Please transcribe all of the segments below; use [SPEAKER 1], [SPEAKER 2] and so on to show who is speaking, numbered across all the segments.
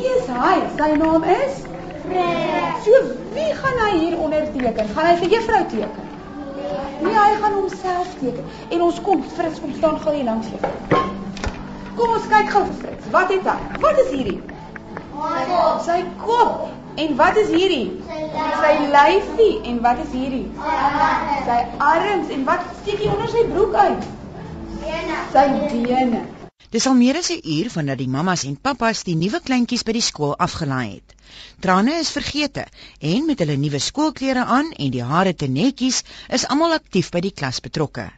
[SPEAKER 1] Hi, sy naam is
[SPEAKER 2] Nee.
[SPEAKER 1] So wie gaan hy hier onderteken? Gaan hy vir juffrou teken? Nee, hy gaan homself teken. En ons kom Frits kom staan gou hier langs jou. Kom ons kyk gou vir Frits. Wat het hy? Wat is hierdie?
[SPEAKER 2] Haarkop.
[SPEAKER 1] Sy kop. En wat is hierdie?
[SPEAKER 2] Sy
[SPEAKER 1] Sy lyfie. En wat is hierdie?
[SPEAKER 2] lyf.
[SPEAKER 1] Sy arms en wat steek hier onder sy broek uit? Sy bene.
[SPEAKER 3] Dis al meer as 'n uur vandat die mammas en pappas die nuwe kleintjies by die skool afgelaai het. Trane is vergete en met hulle nuwe skoolklere aan en die hare te netjies is almal aktief by die klas betrokke.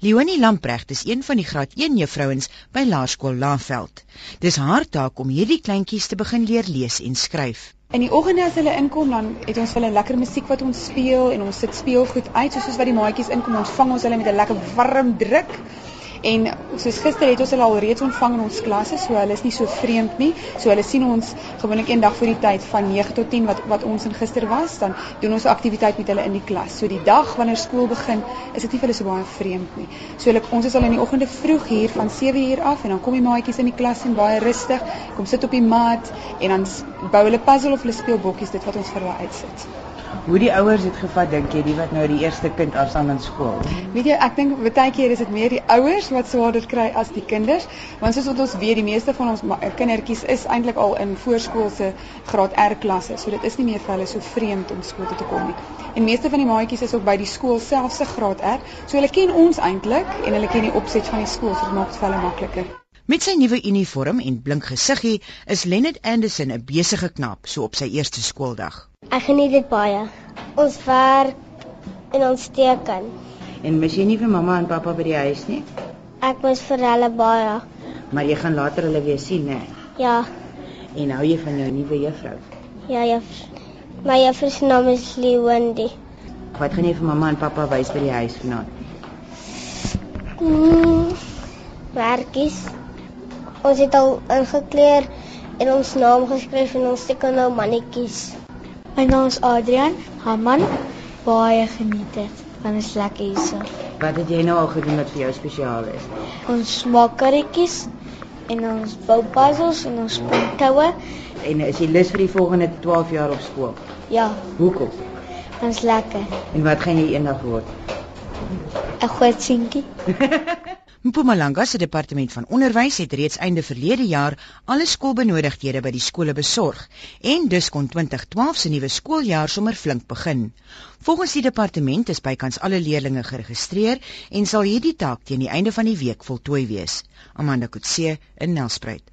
[SPEAKER 3] Leonie Lamprecht is een van die graad 1 juffrouens by Laerskool Laveld. Dis haar taak om hierdie kleintjies te begin leer lees en skryf.
[SPEAKER 1] In die oggende as hulle inkom, dan het ons vir hulle lekker musiek wat ons speel en ons sit speelgoed uit, soos soos wat die maatjies inkom, ontvang ons hulle met 'n lekker warm druk. En soos gister het ons hulle al reeds ontvang in ons klasse, so hulle is nie so vreemd nie. So hulle sien ons gewoonlik eendag voor die tyd van 9 tot 10 wat wat ons in gister was, dan doen ons 'n aktiwiteit met hulle in die klas. So die dag wanneer skool begin, is dit nie vir hulle so baie vreemd nie. So hulle ons is al in die oggende vroeg hier van 7uur af en dan kom die maatjies in die klas en baie rustig, kom sit op die mat en dan s- bou hulle puzzle of hulle speel bokkies, dit wat ons vir hulle uitsit.
[SPEAKER 4] Hoe die ouers dit gevat dink jy die wat nou die eerste kind afstaan in skool?
[SPEAKER 1] Weet jy, ek dink baie keer is dit meer die ouers wat swaarder kry as die kinders, want soos wat ons weet, die meeste van ons ma- kindertjies is eintlik al in voorskoolse graad R klasse, so dit is nie meer vir hulle so vreemd om skool toe te kom nie. En meeste van die maatjies is ook by die skool selfs se graad R, so hulle ken ons eintlik en hulle ken die opset van die skool, so dit maak dit vir hulle makliker.
[SPEAKER 3] Met sy nuwe uniform en blink gesiggie is Leonard Anderson 'n besige knaap so op sy eerste skooldag.
[SPEAKER 2] Ek geniet dit baie. Ons werk en ons teken.
[SPEAKER 4] En mis jy nie vir mamma en pappa by die huis nie,
[SPEAKER 2] Ek mis vir hulle baie.
[SPEAKER 4] maar jy gaan later hulle weer sien, né?
[SPEAKER 2] Ja,
[SPEAKER 4] En hou jy van jou nuwe juffrou?
[SPEAKER 2] ja juf. My juffrou se naam is Leondi.
[SPEAKER 4] Wat gaan jy vir mamma en pappa wys by die huis vanaand?
[SPEAKER 2] Mm, werkies. Ons het al ingekleer en ons naam geskryf en ons teken nou mannetjies. My naam is Adrian Haman. Baie geniet dit. Want is lekker hierso.
[SPEAKER 4] Wat het jy nou al gedoen wat vir jou spesiaal is?
[SPEAKER 2] Ons maak karretjies en ons bou puzzles en ons spin toue.
[SPEAKER 4] En is jy lus vir die volgende 12 jaar op skool?
[SPEAKER 2] Ja,
[SPEAKER 4] Hoekom?
[SPEAKER 2] ons lekker.
[SPEAKER 4] En wat gaan jy eendag word?
[SPEAKER 2] 'n Groot seentjie.
[SPEAKER 3] Mpumalanga se departement van onderwys het reeds einde verlede jaar alle skoolbenodigdhede by die skole besorg en dus kon 2012 se nuwe skooljaar sommer flink begin. Volgens die departement is bykans alle leerders geregistreer en sal hierdie taak teen die einde van die week voltooi wees. Amanda Kutse in Nelspruit.